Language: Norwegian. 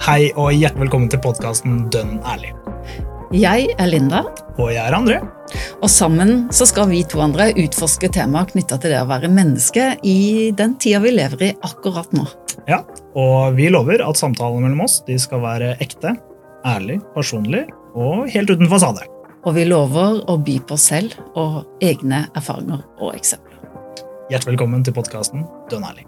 Hei og hjertelig velkommen til podkasten Dønn ærlig. Jeg er Linda, Og jeg er André. og sammen så skal vi to andre utforske temaer knytta til det å være menneske i den tida vi lever i akkurat nå. Ja, og vi lover at samtalene mellom oss de skal være ekte, ærlig, personlig og helt uten fasade. Og vi lover å by på oss selv og egne erfaringer og eksempler. Hjertelig velkommen til podkasten Dønn ærlig.